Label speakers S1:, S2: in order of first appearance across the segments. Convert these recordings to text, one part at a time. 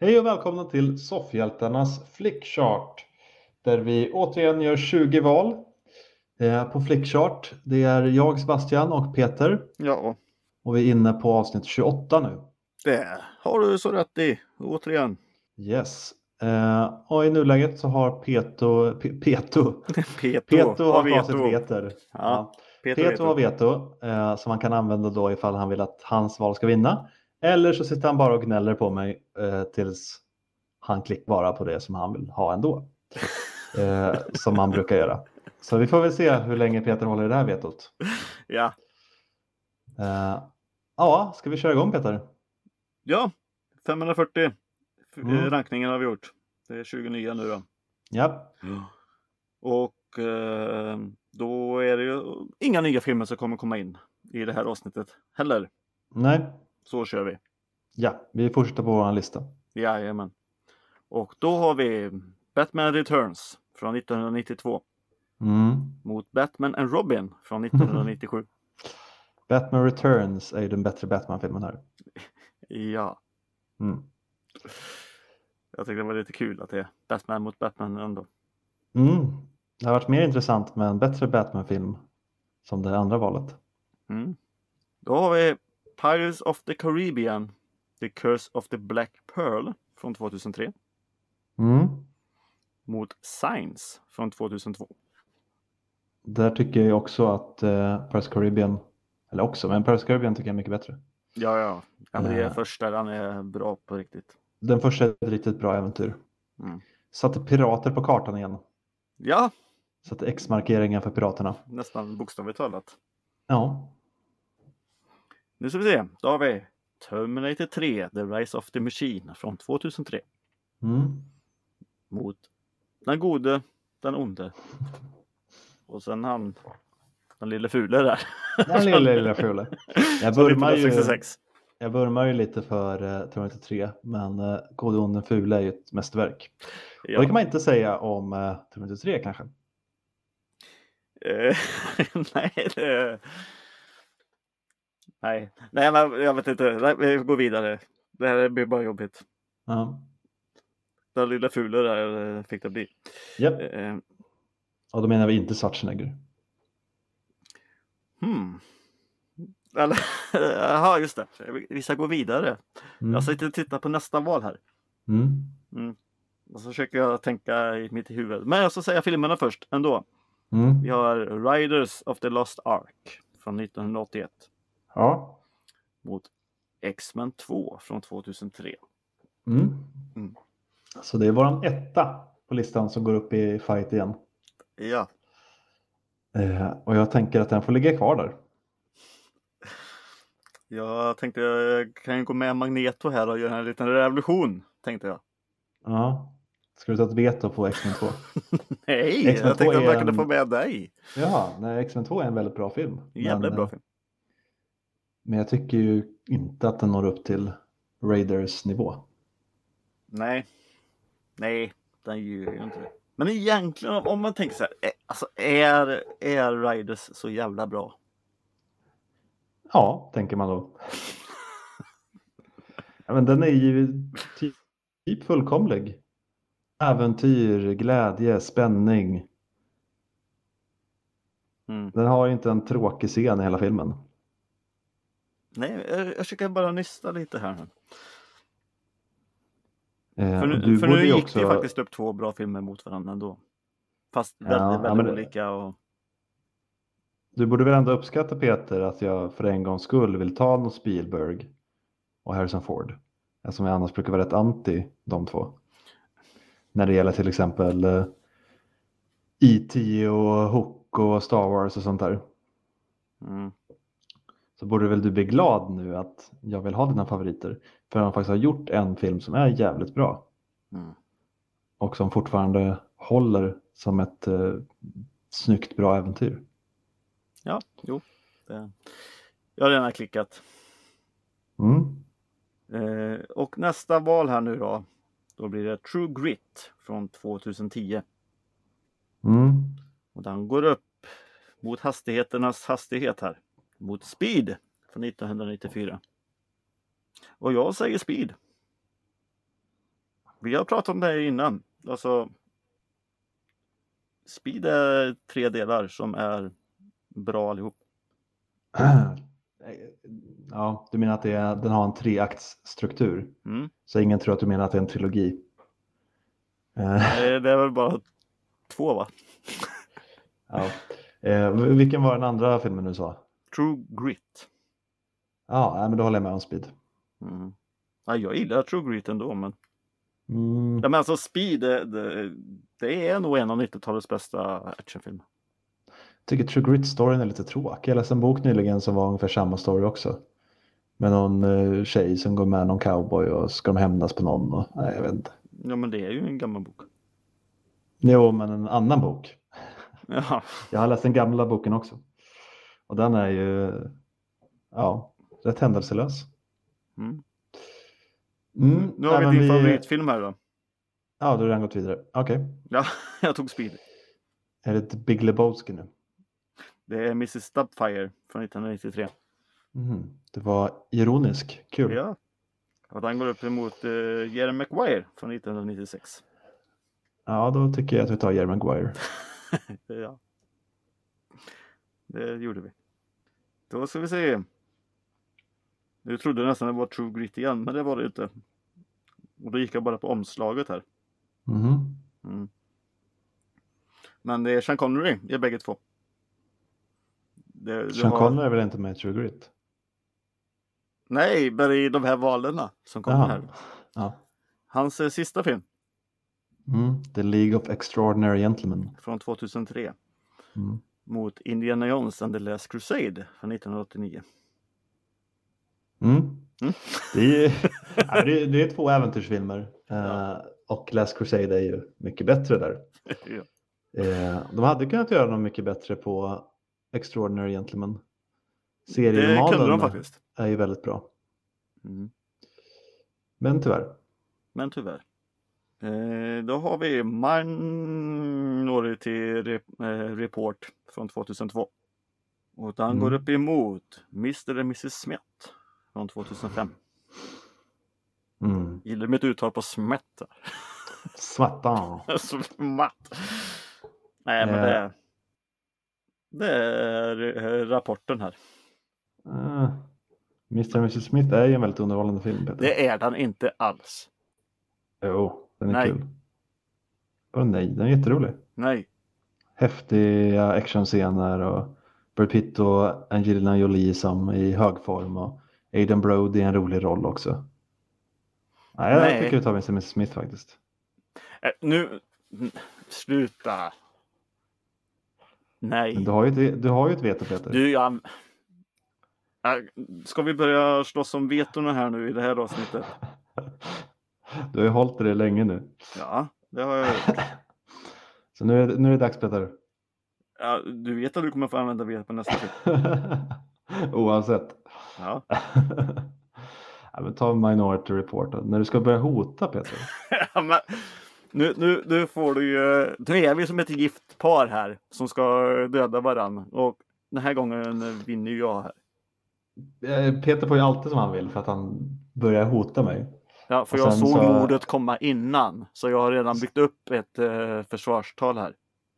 S1: Hej och välkomna till Soffhjältarnas flickchart. Där vi återigen gör 20 val eh, på flickchart. Det är jag, Sebastian och Peter.
S2: Ja,
S1: Och vi är inne på avsnitt 28 nu.
S2: det har du så rätt i. Återigen.
S1: Yes. Eh, och i nuläget så har Peto... Pe- Peto?
S2: Peto,
S1: Peto har
S2: vi
S1: facit
S2: veto.
S1: veter.
S2: Ja, Peto,
S1: Peto har
S2: veto.
S1: veto eh, som han kan använda då ifall han vill att hans val ska vinna. Eller så sitter han bara och gnäller på mig eh, tills han klickar bara på det som han vill ha ändå. Eh, som man brukar göra. Så vi får väl se hur länge Peter håller i det här vetot.
S2: Ja.
S1: Eh, ja, ska vi köra igång Peter?
S2: ja, 540 f-
S1: Mm.
S2: eh, rankningen har vi gjort. Det är 29 nu då.
S1: Ja,
S2: Och eh, då är det ju inga nya filmer som kommer komma in i det här avsnittet heller.
S1: nej,
S2: Så kör vi.
S1: ja, vi fortsätter på vår lista.
S2: Jajamän. Och då har vi Batman Returns från 1992
S1: Mm.
S2: mot Batman and Robin från 1997.
S1: Batman Returns är ju den bättre Batman-filmen här.
S2: ja.
S1: Mm.
S2: Jag tyckte det var lite kul att det är Batman mot Batman ändå.
S1: Mm. Det har varit mer intressant med en bättre Batman-film som det andra valet.
S2: Mm. Då har vi Pirates of the Caribbean The Curse of the Black Pearl från 2003
S1: Mm.
S2: mot Signs från 2002.
S1: Där tycker jag också att eh, Paris Caribbean, eller också, men Paris Caribbean tycker jag är mycket bättre.
S2: Ja, ja. ja men det är
S1: Eh.
S2: första den är bra på riktigt.
S1: Den första är ett riktigt bra äventyr.
S2: Mm.
S1: Satte pirater på kartan igen.
S2: Ja,
S1: Satte X-markeringen för piraterna.
S2: nästan bokstavligt talat.
S1: Ja.
S2: Nu ska vi se. Då har vi Terminator 3 The Rise of the Machine från 2003
S1: Mm.
S2: mot den gode, den onde. Och sen han, den lille fule där.
S1: Den lilla, lilla fula. Jag
S2: Från
S1: vurmar ju,
S2: 1966.
S1: jag vurmar ju lite för eh, Terminator 3, men eh, God och ond den fula är ju ett mästerverk. Och det
S2: Ja.
S1: kan man inte säga om eh, Terminator 3 kanske.
S2: Eh, Nej, det... Nej. Nej, men jag vet inte. Nej, Vi går vidare. Det här blir bara jobbigt.
S1: Ja.
S2: Den lilla fula där eh, fick det bli.
S1: Japp.
S2: Eh,
S1: Och då menar vi inte Schwarzenegger.
S2: Hmm. Eller, jaha, just det. Vi ska gå vidare.
S1: Mm.
S2: Jag sitter och tittar på nästa val här.
S1: Mm.
S2: Och så försöker jag tänka i mitt huvud. Men jag ska säga filmerna först ändå.
S1: Mm.
S2: Vi har Riders of the Lost Ark från 1981
S1: Ja.
S2: mot X-Men 2 från 2003.
S1: Mm.
S2: Mm.
S1: Så det är våran etta på listan som går upp i fight igen.
S2: Ja.
S1: Eh, och jag tänker att den får ligga kvar där.
S2: Jag tänkte jag kan ju gå med Magneto här och göra en liten revolution. Tänkte jag.
S1: Ja. Ska du ta ett veto på X-Men 2?
S2: Nej,
S1: X-Men 2
S2: jag tänkte
S1: är
S2: att jag kunde
S1: en-
S2: få med dig.
S1: ja, nej, X-Men 2 är en väldigt bra film.
S2: Jävligt
S1: men,
S2: bra
S1: eh,
S2: film.
S1: Men jag tycker ju inte att den når upp till Raiders nivå.
S2: Nej. Nej, den gör ju inte det. Men egentligen om man tänker så här. eh, Alltså är, är Riders så jävla bra?
S1: Ja, tänker man då. ja, men den är ju typ, typ fullkomlig. Äventyr, glädje, spänning.
S2: Mm.
S1: Den har ju inte en tråkig scen i hela filmen.
S2: Nej, jag, jag försöker bara nysta lite här nu.
S1: Eh,
S2: För
S1: och
S2: nu,
S1: du
S2: för
S1: borde
S2: nu
S1: ju
S2: gick
S1: också...
S2: det ju faktiskt upp två bra filmer mot varandra ändå. Fast
S1: Ja,
S2: väldigt,
S1: ja, men
S2: väldigt
S1: det-
S2: olika. Och...
S1: Du borde väl ändå uppskatta Peter att jag för en gångs skull vill ta någon Spielberg och Harrison Ford. Eftersom jag annars brukar vara rätt anti de två. När det gäller till exempel eh, E.T. och Hook och Star Wars och sånt där.
S2: Mm.
S1: Så borde väl du bli glad nu att jag vill ha dina favoriter. För han faktiskt har gjort en film som är jävligt bra.
S2: Mm.
S1: Och som fortfarande håller som ett eh, snyggt bra äventyr.
S2: Ja, jo. Det... Jag har redan klickat.
S1: Mm.
S2: Eh, och nästa val här nu då. Då blir det True Grit från 2010.
S1: Mm.
S2: Och den går upp mot hastigheternas hastighet här. Mot Speed från 1994. Och jag säger Speed. Vi har pratat om det här innan. Alltså, Speed är tre delar som är bra allihop.
S1: Ja, du menar att det är, den har en treaktsstruktur?
S2: Mm.
S1: Så ingen tror att du menar att det är en trilogi? Eh,
S2: Eh, Det är väl bara två va?
S1: ja. eh, vilken var den andra filmen du sa?
S2: True Grit.
S1: Ja, nej, men då håller jag med om Speed.
S2: Mm. Ja, jag gillar True Grit ändå men
S1: Mm,
S2: Ja, men alltså Speed, det, det, det är nog en av 90-talets bästa actionfilmer.
S1: tycker True Grit-storyn är lite tråkig. Jag läste en bok nyligen som var ungefär samma story också. Med någon eh, tjej som går med någon cowboy och ska de hämnas på någon. Och, nej, jag vet inte.
S2: Ja, men det är ju en gammal bok.
S1: Jo, men en annan bok.
S2: Ja,
S1: Jag har läst den gamla boken också. Och den är ju ja, rätt händelselös.
S2: Mm.
S1: Mm,
S2: nu har
S1: nej,
S2: vi
S1: men
S2: din favoritfilm här då.
S1: Ja, du har redan gått vidare. Okej.
S2: Ja, jag tog Speed.
S1: Är det ett Big Lebowski nu?
S2: Det är Mrs Doubtfire från 1993.
S1: Mhm. Det var ironisk. Kul.
S2: Ja. Och den går upp emot eh, Jerry Maguire från 1996.
S1: Ja, då tycker jag att vi tar Jerry Maguire.
S2: Ja. Det gjorde vi. Då ska vi se. Nu trodde jag nästan det var True Grit igen, men det var det inte. Och då gick jag bara på omslaget här.
S1: Mhm.
S2: Men det är Sean Connery i bägge två. Det, du
S1: Sean
S2: har-
S1: Connery är väl inte med i True Grit?
S2: Nej, men i de här valen som kommer
S1: Jaha.
S2: här.
S1: Ja.
S2: Hans eh, sista film
S1: Mm. The League of Extraordinary Gentlemen.
S2: från 2003
S1: Mm.
S2: mot Indiana Jones and the Last Crusade från 1989.
S1: Mm.
S2: Mm.
S1: Det, är, ju- ja, men det, är, det är två äventyrsfilmer. Eh,
S2: Ja.
S1: Och Last Crusade är ju mycket bättre där.
S2: Ja.
S1: Eh, de hade kunnat göra dem mycket bättre på Extraordinary Gentlemen.
S2: Det kunde de
S1: Seriemaden
S2: faktiskt.
S1: är ju väldigt bra.
S2: Mm.
S1: Men tyvärr.
S2: Men tyvärr. Eh, då har vi Minority Re- eh, Report från 2002. Och den
S1: Mm.
S2: går upp emot Mr och Mrs Smith från 2005.
S1: Mm.
S2: Gillar mitt uttal på Smith?
S1: Svartan.
S2: Som matt. Nej men det är, det är eh, rapporten här.
S1: Eh, Mr. and Mrs. Smith är ju en väldigt underhållande film. Peter.
S2: Det är den inte alls.
S1: Jo, den är
S2: Nej.
S1: kul. Vadå nej, den är jätterolig.
S2: Nej.
S1: Häftiga actionscener och Brad Pitt och Angelina Jolie som i hög form och Aiden Brody i en rolig roll också. Nej, jag
S2: Nej.
S1: tycker vi tar Mr. and Mrs. Smith faktiskt.
S2: Eh, Nu. n- Sluta.
S1: Men
S2: Nej.
S1: du har ju ett, du har ju ett veto Peter.
S2: Du jag... Eh, Ska vi börja slåss om vetona här nu i det här avsnittet?
S1: Du har ju hållit det länge nu.
S2: Ja, det har jag gjort.
S1: Så nu är, det- nu är det dags Peter.
S2: Ja, Du vet att du kommer få använda vet på nästa film.
S1: Oavsett.
S2: Ja.
S1: ja, men ta Minority Report då. När du ska börja hota Peter.
S2: Ja, men, nu, nu, nu får du ju... Nu är vi som ett gift par här som ska döda varann. Och den här gången vinner ju jag här.
S1: Eh, Peter får ju alltid som han vill för att han börjar hota mig.
S2: Ja, för
S1: Och
S2: jag
S1: sen
S2: såg
S1: så-
S2: mordet komma innan. Så jag har redan byggt upp ett eh, försvarstal här.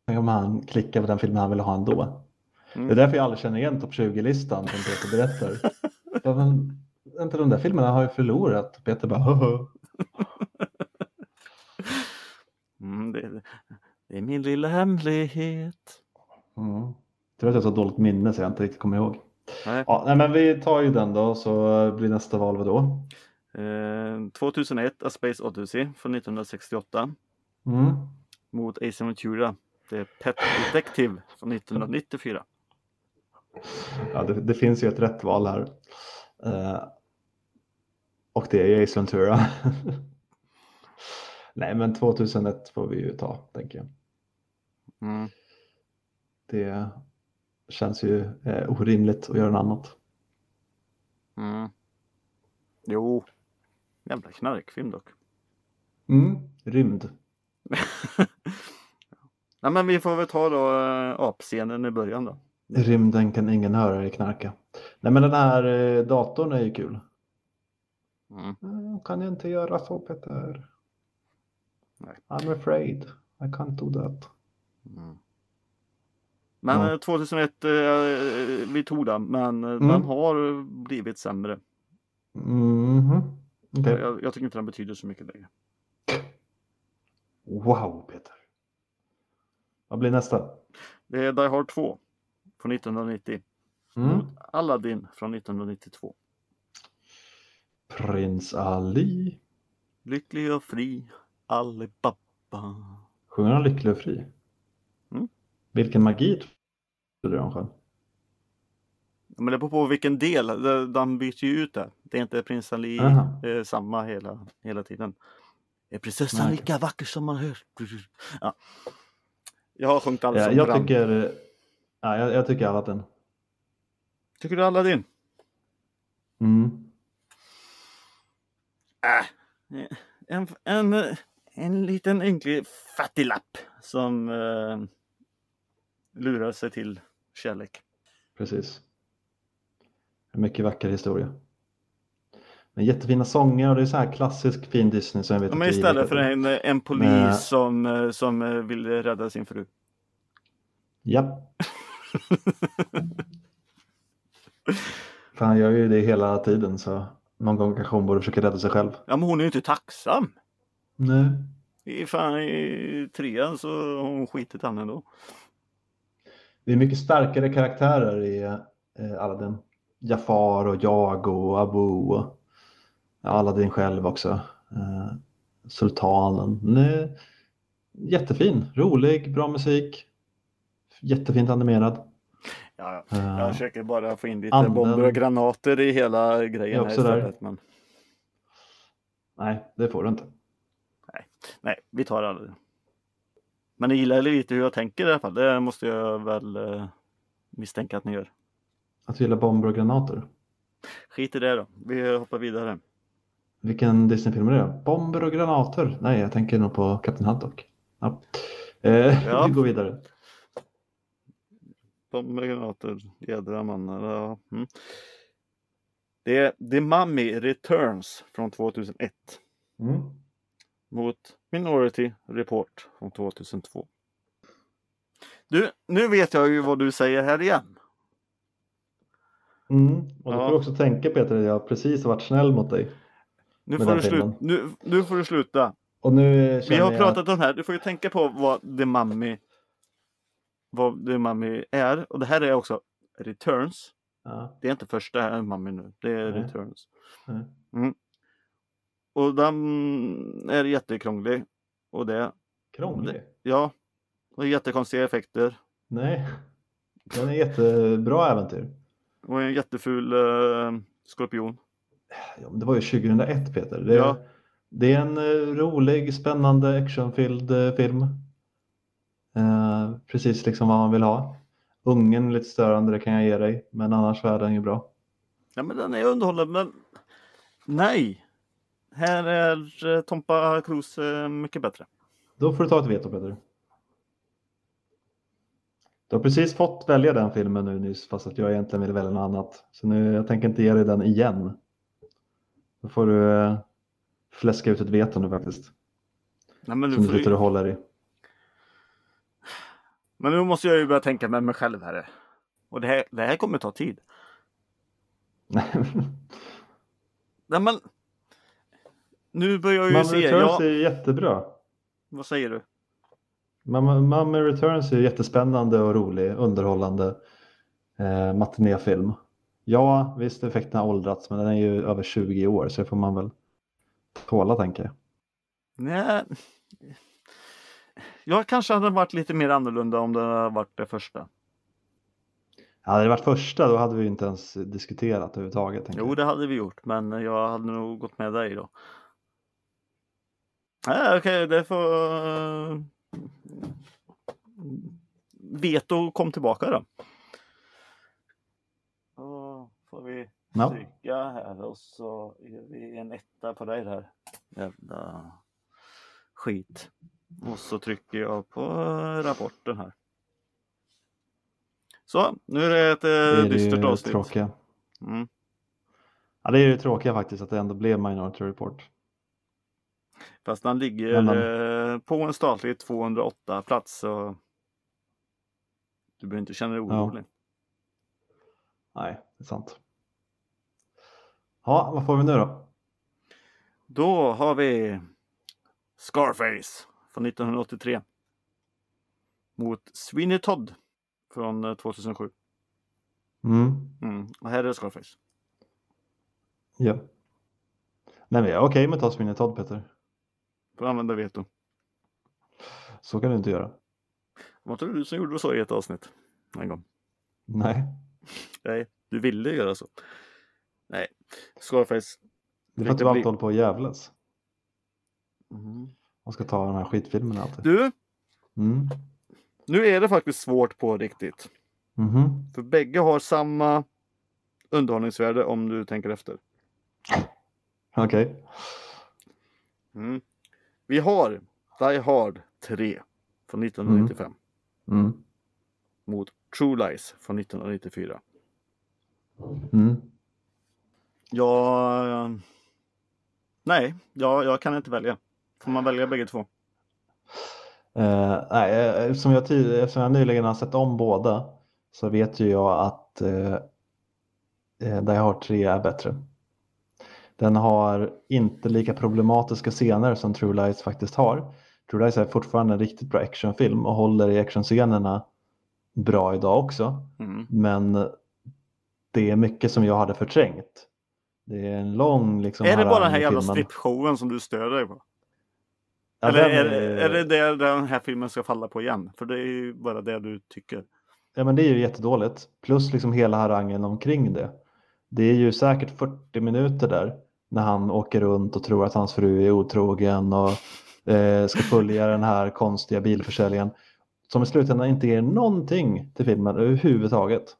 S1: Tänk om han klickar på den filmen han vill ha ändå.
S2: Mm.
S1: Det är därför jag aldrig känner igen topp 20-listan som Peter berättar. Bara, men, Vänta, de där filmerna har ju förlorat. Peter bara "Hoho."
S2: Mm, det, det är min lilla hemlighet.
S1: mm. Tror att jag har så dåligt minne så jag inte riktigt kommer ihåg.
S2: Nej.
S1: Ja, nej, men vi tar ju den då så blir nästa val vad då?
S2: Eh, 2001, A Space Odyssey från 1968
S1: Mm.
S2: mot Ace Ventura. Det är Pet Detective från 1994.
S1: Ja, det, det finns ju ett rätt val här. Eh, och det är ju Ace Ventura. Nej, men 2001 får vi ju ta, tänker jag.
S2: Mm.
S1: Det känns ju eh, orimligt att göra något annat.
S2: Mm. Jo. Jävla knarkfilm dock.
S1: Mm. Rymd.
S2: Nej men vi får väl ta då äh, apscenen i början då.
S1: I rymden kan ingen höra dig knarka. Nej, men den här eh, datorn är ju kul. Mm, kan jag inte göra så, Peter?
S2: Nej.
S1: I'm afraid I can't do that.
S2: mm. Men
S1: Ja.
S2: eh, 2001, eh, vi tog den, men eh,
S1: Mm.
S2: den har blivit sämre.
S1: Mhm. Det...
S2: Jag, jag tycker inte den betyder så mycket längre.
S1: Wow, Peter. Vad blir nästa?
S2: Det är Die Hard 2 från 1990.
S1: Mm.
S2: Aladdin från 1992.
S1: Prins Ali.
S2: Lycklig och fri, Alibaba.
S1: Sjunger han Lycklig och fri?
S2: Mm.
S1: Vilken magi trodde han själv.
S2: Ja, Men det beror på vilken del, de- de byter ju ut det. Det är inte prins Ali
S1: Aha.
S2: eh, samma hela, hela tiden. Är prinsessan
S1: Nej, okej.
S2: lika vacker som man hört? Ja. Jag har sjungit alla
S1: Ja,
S2: sånger.
S1: jag, tycker, ja, jag, jag tycker Aladdin.
S2: tycker du Aladdin?
S1: Mm.
S2: Eh, En, en, eh, en liten ynklig fattiglapp som eh, lurar sig till kärlek.
S1: Precis. En mycket vacker historia. Med jättefina sånger och det är så här klassisk fin Disney som jag vet
S2: De är
S1: att vi
S2: istället
S1: gillar.
S2: för en, en polis
S1: Nej.
S2: som, eh, som eh, vill rädda sin fru.
S1: Japp. Fan, jag gör ju det hela tiden så någon gång kanske hon borde försöka rädda sig själv.
S2: Ja, men hon är ju inte tacksam.
S1: Nej.
S2: I, fan, i trean så har hon skitit han ändå.
S1: Det är mycket starkare karaktärer i eh, Aladdin. Jafar och Jago och Abu och Aladdin själv också. Eh, sultanen. Den är jättefin, rolig, bra musik. Jättefint animerad.
S2: Ja, ja.
S1: Eh,
S2: Jag försöker bara få in lite
S1: Anden.
S2: bomber och granater i hela grejen
S1: Jag
S2: här
S1: också där.
S2: istället. Men,
S1: nej, det får du inte.
S2: nej, vi tar aldrig. Men ni gillar lite hur jag tänker i alla fall. Det måste jag väl eh, misstänka att ni gör.
S1: Att du gillar bomber och granater.
S2: Skit i det då. Vi hoppar vidare.
S1: Vilken Disney-film är det? Bomber och granater? Nej, jag tänker nog på Kapten Haddock. Ja. Eh,
S2: Ja.
S1: Vi går vidare.
S2: Bomber och granater, jädra mannar. Ja. Mm. Det är The Mummy Returns från 2001
S1: Mm.
S2: mot Minority Report från 2002. Du, nu vet jag ju vad du säger här igen.
S1: Mm. Och då
S2: Ja.
S1: får du också tänka Peter, att jag precis har varit snäll mot dig.
S2: Nu
S1: med
S2: får,
S1: den
S2: du slut,
S1: filmen.
S2: nu, nu får du sluta.
S1: Och nu
S2: Vi
S1: känner
S2: har
S1: jag...
S2: pratat om det här. Du får ju tänka på vad The Mummy vad The Mummy är. Och det här är också Returns.
S1: Ja.
S2: Det är inte första Mummy nu. Det är
S1: Nej.
S2: Returns.
S1: Nej.
S2: Mm. Och den är jättekrånglig. Och det,
S1: Krånglig?
S2: ja. Och jättekonstiga effekter.
S1: Nej. Den är jättebra äventyr.
S2: Och en jätteful eh, skorpion.
S1: Ja, men Det var ju 2001 Peter. Det,
S2: Ja.
S1: det är en eh, rolig, spännande, actionfylld eh, film. Eh, precis liksom vad man vill ha. Ungen är lite störande, det kan jag ge dig. Men annars så är den ju bra.
S2: Ja men den är underhållande men nej. Här är eh, Tompa Cruise eh, mycket bättre.
S1: Då får du ta ett veto Peter. Du har precis fått välja den filmen nu nyss fast att jag egentligen vill välja något annat. Så nu, jag tänker inte ge dig den igen. Då får du eh, fläska ut ett veto nu faktiskt.
S2: Nej, men
S1: Som du
S2: nu får du
S1: sitter och håller i.
S2: Men nu måste jag ju börja tänka med mig själv här. Och det här, det här kommer ta tid. Nej men. Nu börjar jag ju
S1: Mamma
S2: se.
S1: Returns
S2: Ja,
S1: är ju jättebra.
S2: Vad säger du?
S1: Mamma, Mamma Returns är ju jättespännande och rolig, underhållande eh, matinéfilm. Ja, visst effekten har åldrats men den är ju över 20 år så det får man väl tåla tänker jag.
S2: Nej. Jag kanske hade varit lite mer annorlunda om det hade varit det första.
S1: Hade det varit första då hade vi ju inte ens diskuterat överhuvudtaget. tänker
S2: Jo,
S1: jag.
S2: det hade vi gjort, men jag hade nog gått med dig då. Nej, okej, det får... eh, Veto kom tillbaka då. Då får vi
S1: Ja.
S2: stryka här och så är vi en etta på dig där. Jävla skit. Och så trycker jag på rapporten här. Så, nu är det ett eh,
S1: Det är ju
S2: dystert avsnitt.
S1: Tråkiga.
S2: Mm.
S1: Ja, det är ju det tråkiga faktiskt att det ändå blev Minority Report.
S2: Fast den ligger
S1: Men,
S2: eh, eh, på en statlig 208 plats så du behöver inte känna dig orolig.
S1: Nej, det är sant. Ja, vad får vi nu då?
S2: Då har vi Scarface från 1983 mot Sweeney Todd från eh, 2007.
S1: Mm.
S2: Mm. Och här är Scarface.
S1: Ja. Nej, men jag är okej med att ta Sweeney Todd, Peter.
S2: Får använda veto.
S1: Så kan du inte göra.
S2: Var inte det du som gjorde så i ett avsnitt? En gång.
S1: Nej,
S2: Nej, du ville göra så. Nej, Scarface.
S1: det är för att
S2: Tänkte
S1: du alltid
S2: bli-
S1: håller på och jävlas. Och ska ta de här skitfilmerna alltid.
S2: Mm. Du,
S1: Mm.
S2: nu är det faktiskt svårt på riktigt.
S1: Mhm.
S2: För bägge har samma underhållningsvärde om du tänker efter.
S1: Okej.
S2: Mm. Vi har Die Hard 3 från 1995
S1: Mm.
S2: mot True Lies från 1994.
S1: Mm.
S2: Ja... eh, Nej, ja, jag kan inte välja. Får man välja bägge två?
S1: Eh, nej, eh, eftersom, jag tid, eftersom jag nyligen har sett om båda så vet ju jag att eh, eh, Die Hard 3 är bättre. Den har inte lika problematiska scener som True Lies faktiskt har. True Lies är fortfarande en riktigt bra actionfilm och håller i actionscenerna bra idag också.
S2: Mm.
S1: Men det är mycket som jag hade förträngt. Det är en lång liksom.
S2: är det bara den
S1: harang
S2: här
S1: i
S2: jävla
S1: filmen.
S2: strippshowen som du stör dig på?
S1: Ja,
S2: Eller
S1: den
S2: är, det- är det där den här filmen ska falla på igen? För det är ju bara det du tycker.
S1: Ja, men det är ju jättedåligt. Plus liksom hela harangen omkring det. Det är ju säkert 40 minuter där när han åker runt och tror att hans fru är otrogen och eh, ska följa den här konstiga bilförsäljaren som i slutändan inte ger någonting till filmen överhuvudtaget.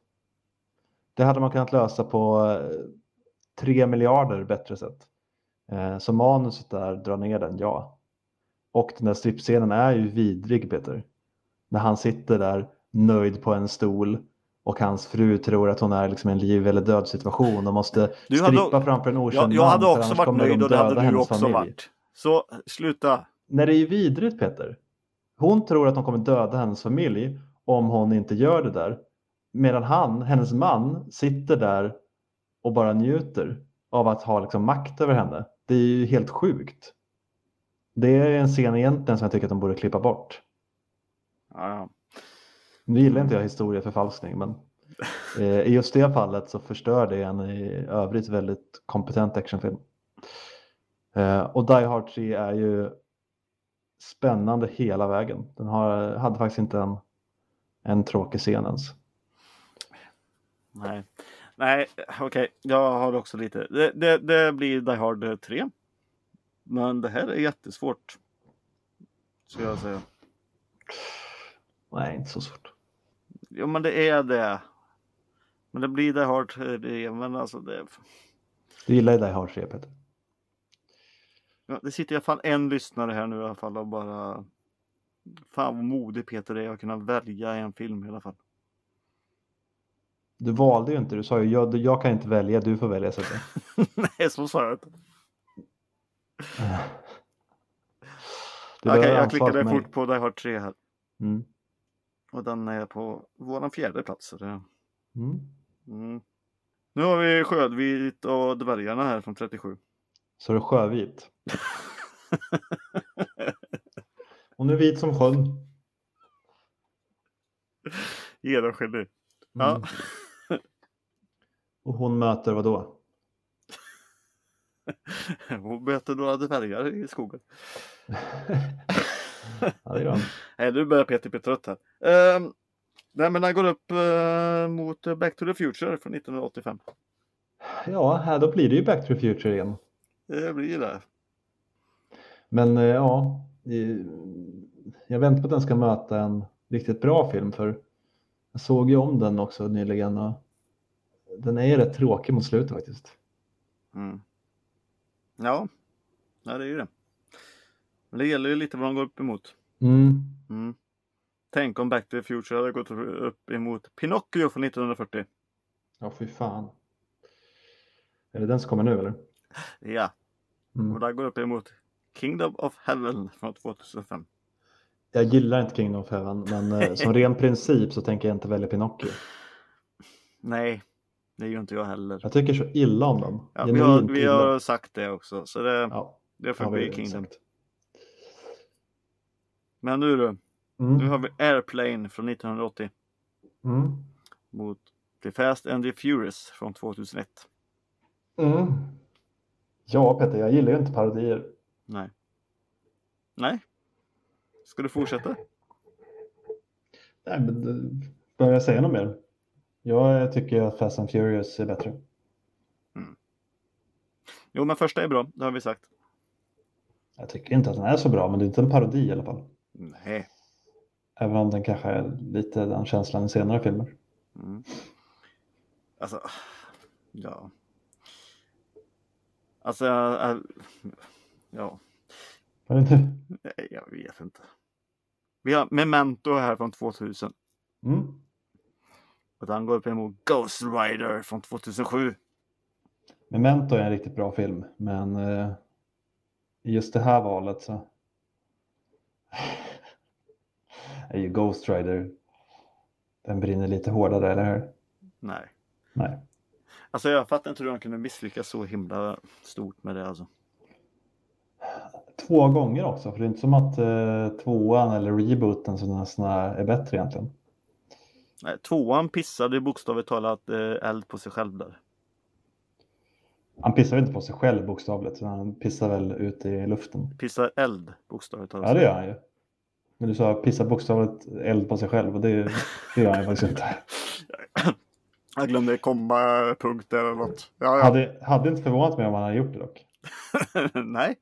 S1: Det hade man kunnat lösa på eh, 3 miljarder bättre sätt. Eh, så manuset där drar ner den, ja. Och den där strippscenen är ju vidrig, Peter. När han sitter där nöjd på en stol och hans fru tror att hon är liksom i en liv eller död situation och måste
S2: Du hade-
S1: strippa framför en
S2: Jag,
S1: okänd
S2: jag
S1: man
S2: hade
S1: för
S2: också
S1: annars
S2: varit
S1: kommer de
S2: nöjd och det
S1: döda
S2: hade du
S1: hennes
S2: också
S1: familj.
S2: varit. Så sluta.
S1: Nej, det är ju vidrigt Peter. Hon tror att de kommer döda hennes familj om hon inte gör det där. Medan han, hennes man, sitter där och bara njuter av att ha liksom makt över henne. Det är ju helt sjukt. Det är en scen egentligen som jag tycker att de borde klippa bort.
S2: Ja, ja.
S1: Nu gillar inte jag historieförfalskning, men eh, i just det fallet så förstör det en i övrigt väldigt kompetent actionfilm. Eh, och Die Hard 3 är ju spännande hela vägen. Den har, hade faktiskt inte en, en tråkig scen ens.
S2: Nej, Nej okej. Jag har också lite. Det, det, det blir Die Hard 3. Men det här är jättesvårt. Ska jag säga.
S1: Nej, inte så svårt.
S2: Jo, men det är det. Men det blir Die Hard 3. Men alltså det,
S1: Du gillar ju Die Hard 3, Peter.
S2: ja, det sitter i alla fall en lyssnare här nu i alla fall och bara. Fan vad modig Peter är att kunna välja en film i alla fall.
S1: Du valde ju inte, du sa ju jag, jag kan inte välja, du får välja. Så att säga.
S2: Nej, så sa jag inte.
S1: Du
S2: Okej,
S1: behöver
S2: jag
S1: ansvar
S2: klickade
S1: för mig.
S2: fort på Die Hard 3 här.
S1: Mm.
S2: Och den är på våran fjärde plats. Så det...
S1: Mm.
S2: Mm. Nu har vi Sködvit och Dvärgarna här från 37.
S1: Så är det sjövit. Hon är vit som sjön. Mm.
S2: Genomskinlig. Ja.
S1: Mm. Och hon möter vad då?
S2: Hon möter några dvärgar i skogen.
S1: ja, det gör hon.
S2: Nej, nu börjar Peter bli trött här. Ehm, nej, men han går upp eh, mot eh, Back to the Future från 1985.
S1: Ja, här då blir det ju Back to the Future igen.
S2: Det blir det.
S1: Men eh, ja, eh, jag väntar på att den ska möta en riktigt bra film för jag såg ju om den också nyligen och den är ju rätt tråkig mot slutet faktiskt.
S2: Mm. Ja. ja, det är ju det. Men det gäller ju lite vad de går upp emot.
S1: Mm.
S2: Mm. Tänk om Back to the Future hade gått upp emot Pinocchio från 1940.
S1: Ja, fy fan. Är det den som kommer nu eller?
S2: Ja,
S1: Mm.
S2: och där går upp emot Kingdom of Heaven från 2005.
S1: Jag gillar inte Kingdom of Heaven, men eh, som ren princip så tänker jag inte välja Pinocchio.
S2: Nej, det gör inte jag heller.
S1: Jag tycker så illa om dem.
S2: Ja, vi,
S1: Genuint
S2: har, vi
S1: illa.
S2: har sagt det också, så det,
S1: Ja,
S2: det
S1: har
S2: får
S1: vi
S2: bli
S1: ju
S2: Kingdom.
S1: sagt.
S2: Men nu du, nu
S1: Mm.
S2: har vi Airplane från 1980
S1: Mm.
S2: mot The Fast and the Furious från 2001.
S1: Mm. Ja, Peter, jag gillar ju inte parodier.
S2: Nej. Nej. Ska du fortsätta?
S1: Nej, men det- behöver jag säga något mer? Jag eh, tycker att Fast and Furious är bättre.
S2: Jo, men första är bra, det har vi sagt.
S1: Jag tycker inte att den är så bra, men det är inte en parodi i alla fall.
S2: Nej.
S1: Även om den kanske är lite den känslan i senare filmer.
S2: Mm. Alltså, ja. Alltså, äh, ja,
S1: Var det inte?
S2: nej, jag vet inte. Vi har Memento här från 2000
S1: Mm.
S2: och den går upp emot Ghost Rider från 2007.
S1: Memento är en riktigt bra film, men eh, i just det här valet så är ju Ghost Rider. Den brinner lite hårdare, eller hur?
S2: Nej,
S1: Nej.
S2: alltså jag fattar inte hur de kunde misslyckas så himla stort med det alltså.
S1: Två gånger också, för det är inte som att eh, tvåan eller rebooten som nästan är bättre egentligen.
S2: Nej, tvåan pissade bokstavligt talat eh, eld på sig själv där.
S1: Han pissar väl inte på sig själv bokstavligt, utan han pissar väl ut i luften.
S2: Pissar eld bokstavligt talat.
S1: Ja, det gör han ju. Men du sa pissa bokstavligt eld på sig själv och det, det gör han ju faktiskt inte.
S2: Jag glömde komma punkter eller något. Ja,
S1: Hade, hade inte förvånat mig om han hade gjort det dock.
S2: ja. Nej.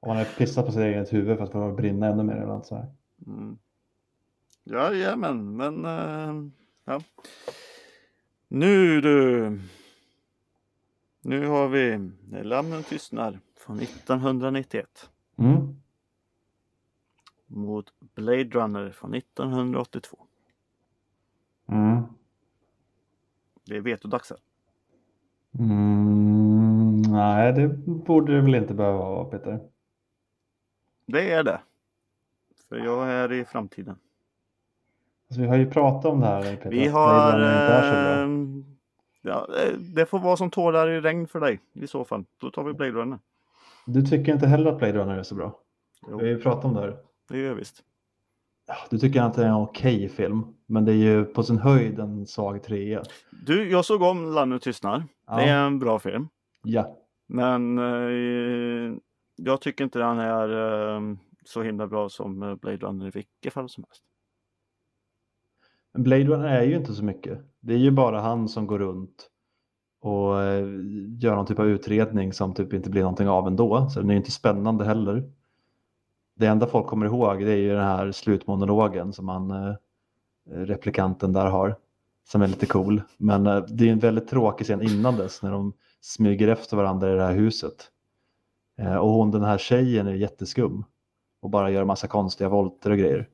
S1: Om han hade pissat på sitt eget huvud för att få det att brinna ännu mer eller något så här.
S2: Mm. Ja, jajamän, men... eh, ja. Nu du! Nu har vi När Lammen tystnar från 1991
S1: Mm.
S2: mot Blade Runner från 1982.
S1: Mm.
S2: Det är vetodags här.
S1: Mm. Nej, det borde det väl inte behöva vara Peter. Alltså,
S2: Det är det. För jag är i framtiden.
S1: Alltså, vi har ju pratat om det här Peter.
S2: Vi
S1: att Blade
S2: har...
S1: Runner inte är så bra.
S2: eh, ja, eh, det får vara som tårar i regn för dig i så fall. Då tar vi Blade Runner.
S1: Du tycker inte heller att Blade Runner är så bra?
S2: Jo.
S1: Vi har ju pratat om det här.
S2: Det gör jag visst.
S1: Ja, Du tycker att det är en okej film, men det är ju på sin höjd en svag trea.
S2: Du, jag såg om Lammen tystnar.
S1: Ja.
S2: Det är en bra film.
S1: Ja.
S2: Men eh, jag tycker inte den är eh, så himla bra som eh, Blade Runner i vilket fall som helst.
S1: Men Blade Runner är ju inte så mycket. Det är ju bara han som går runt och eh, gör någon typ av utredning som typ inte blir någonting av ändå. Så den är ju inte spännande heller. Det enda folk kommer ihåg det är ju den här slutmonologen som han, eh, replikanten där har. Som är lite cool. Men eh, det är en väldigt tråkig scen innan dess när de smyger efter varandra i det här huset. Eh, och hon, den här tjejen är jätteskum. Och bara gör massa konstiga volter och grejer.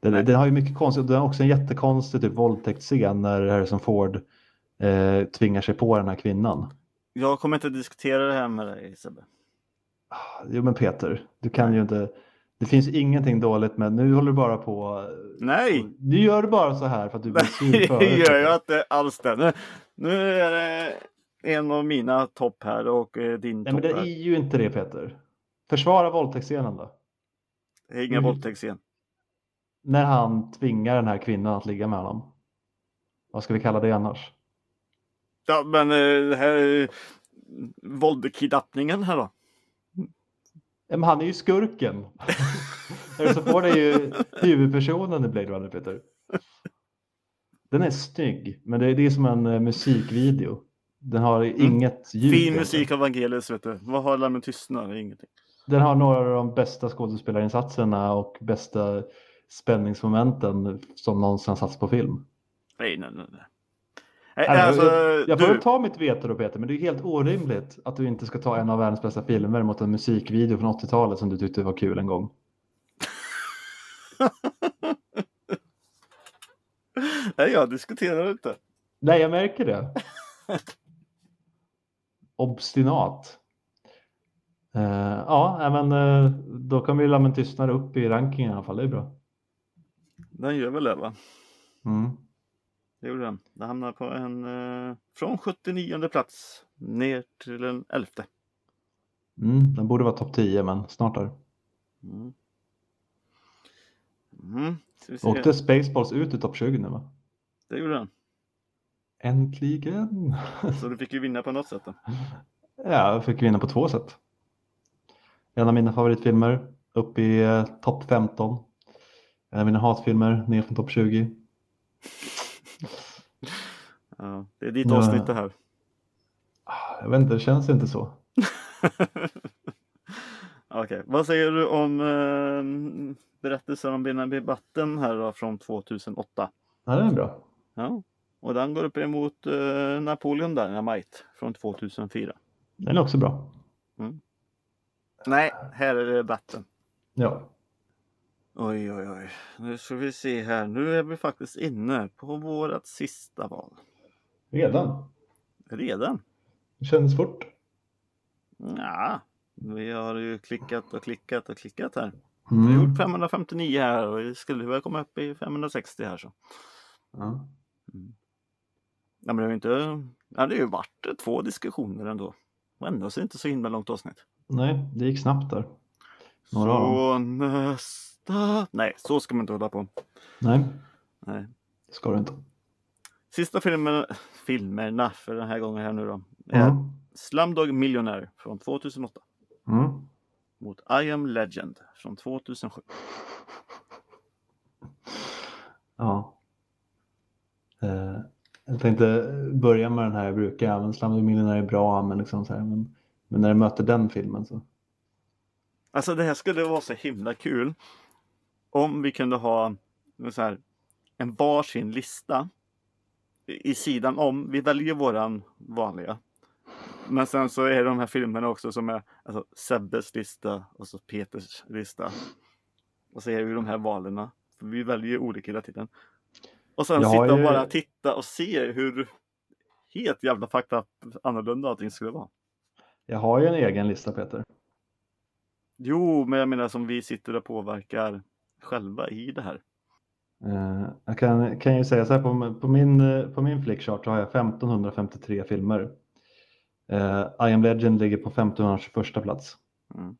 S1: Den,
S2: Nej.
S1: den har ju mycket konstigt, den har också en jättekonstig typ våldtäktsscen när Harrison Ford eh, tvingar sig på den här kvinnan.
S2: Jag kommer inte diskutera det här med dig Sebbe.
S1: Ah, Jo men Peter, du kan ju inte. Det finns ju ingenting dåligt men nu håller du bara på.
S2: Nej!
S1: Du gör bara så här för att du blir sur
S2: Det
S1: förut.
S2: gör jag inte alls det. Nu, nu är det en av mina topp här och eh, din
S1: Nej men
S2: topp
S1: det är
S2: här.
S1: ju inte det Peter. Försvara våldtäktsscenen då.
S2: Det är ingen
S1: Mm.
S2: våldtäktsscen.
S1: När han tvingar den här kvinnan att ligga med honom. Vad ska vi kalla det annars?
S2: Ja men eh, det här eh, våldkidnappningen här då.
S1: Ja, Men han är ju skurken. Harrison Ford är ju huvudpersonen i Blade Runner Peter. Den är snygg, men det, det är som en eh, musikvideo. Den har inget ljud.
S2: Mm. Fin
S1: egentligen.
S2: musik av Vangelis vet du. Vad har Lammen tystnar? Ingenting.
S1: Den har några av de bästa skådespelarinsatserna och bästa spänningsmomenten som någonsin har satts på film.
S2: Nej nej nej. nej. Nej,
S1: Nej, men
S2: alltså,
S1: Jag får
S2: du,
S1: väl ta mitt veto då Peter, men det är helt orimligt att du inte ska ta en av världens bästa filmer mot en musikvideo från 80-talet som du tyckte var kul en gång.
S2: nej jag diskuterar inte.
S1: Nej, jag märker det. Obstinat. Eh, Eh, ja, nej, men eh, då kommer ju Lammen Tystnad upp i rankingen i alla fall. Det är bra.
S2: Den gör väl det va?
S1: Mm.
S2: Det gjorde den. Den hamnar på en eh, från 79 plats ner till den 11.
S1: Mm, den borde vara topp 10, men snart där.
S2: Mm. Mm. Ska vi se.
S1: Åkte Spaceballs ut i topp 20 nu va?
S2: Det gjorde den.
S1: Äntligen!
S2: Så du fick ju vinna på något sätt. Då.
S1: Ja, jag fick vinna på två sätt. En av mina favoritfilmer upp i eh, topp 15. En av mina hatfilmer ner från topp 20.
S2: Ja, det är ditt
S1: Ja.
S2: avsnitt det här.
S1: Ah, Jag vet inte, det känns inte så.
S2: Okej, vad säger du om eh, berättelsen om Benjamin Batten här då, från 2008?
S1: Ja, det är bra.
S2: Ja. Och den går upp emot eh, Napoleon Dynamite från 2004.
S1: Den är också bra.
S2: Nej, här är det Batten.
S1: Ja.
S2: Oj, oj, oj. Nu ska vi se här. Nu är vi faktiskt inne på vårt sista val.
S1: Redan?
S2: Redan?
S1: Det kändes fort.
S2: Ja. Vi har ju klickat och klickat och klickat här. Vi har
S1: Mm.
S2: gjort 559 här och vi skulle väl komma upp i 560 här så.
S1: Ja.
S2: Ja, men det har ju inte... Ja, det har ju varit två diskussioner ändå. Och ändå så är det inte så himla långt avsnitt.
S1: Nej, det gick snabbt där. Några av
S2: Så nästa... Nej, så ska man inte hålla på.
S1: Nej,
S2: Nej.
S1: det ska du inte.
S2: Sista filmen... filmerna för den här gången här nu då. Är
S1: Mm.
S2: Slumdog Millionaire från 2008
S1: Mm.
S2: mot I am Legend från 2007.
S1: Ja. Eh, jag tänkte börja med den här jag brukar. Även Slumdog Millionaire är bra, men, liksom så här, men, men när jag möter den filmen så.
S2: Alltså det här skulle vara så himla kul om vi kunde ha så här, en varsin lista i i sidan om. Vi väljer våran vanliga. Men sen så är de här filmerna också som är alltså, Sebbes lista och så Peters lista. Och så är det ju de här valen. För vi väljer ju olika hela tiden. Och sen
S1: Jag har
S2: sitta och
S1: ju-
S2: bara titta och se hur helt jävla fakta annorlunda allting skulle vara.
S1: Jag har ju en egen lista Peter.
S2: Jo, men jag menar som vi sitter och påverkar själva i det här.
S1: Eh, jag kan, kan ju säga så här, på, på min, eh, på min flickchart så har jag 1553 filmer. Eh, I am Legend ligger på 1521 plats.
S2: Mm.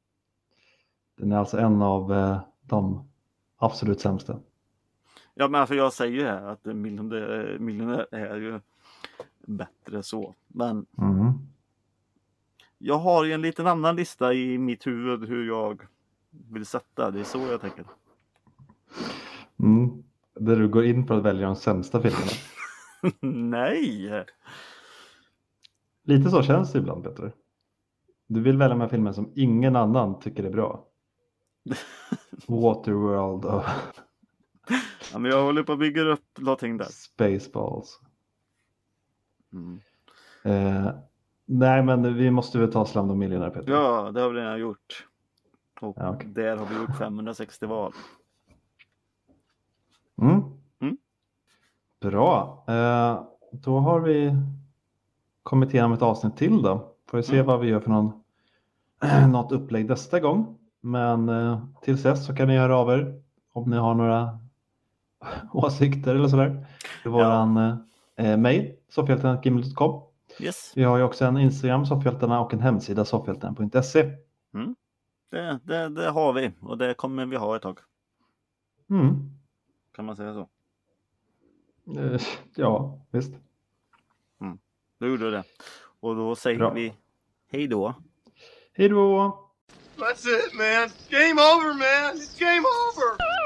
S1: Den är alltså en av eh, de absolut sämsta.
S2: Ja, men alltså jag säger ju här att miljonär, miljonär är ju bättre så. Men
S1: Mm.
S2: jag har ju en liten annan lista i mitt huvud hur jag vill sätta. Det är så jag tänker.
S1: Mm. Där du går in på att välja de sämsta filmerna.
S2: Nej!
S1: Lite så känns det ibland Peter. Du vill välja de här filmerna som ingen annan tycker är bra. Waterworld och
S2: Ja, men jag håller på att bygga upp någonting där.
S1: Spaceballs.
S2: Mm.
S1: Eh, nej men vi måste väl ta Slumdog Millionaire Peter.
S2: Ja, det har vi redan gjort. Och
S1: Ja, okej.
S2: där har vi gjort 560 val.
S1: Mm.
S2: Mm.
S1: Bra. Eh, då har vi kommit igenom ett avsnitt till då. Får vi se
S2: Mm.
S1: vad vi gör för någon, något upplägg nästa gång. Men eh, tills dess så kan ni höra av er om ni har några åsikter eller sådär. Till våran eh, mail soffhjältarna.gimlet.com.
S2: Yes,
S1: Vi har ju också en Instagram, soffhjältarna, och en hemsida, soffhjältarna.se.
S2: det, det, det har vi och det kommer vi ha ett tag.
S1: Mm.
S2: Kan man säga så?
S1: Eh, ja, visst.
S2: Då gjorde du det. Och då säger
S1: Bra.
S2: vi hej då.
S1: Hej då!
S3: That's it, man. Game over, man. It's game over.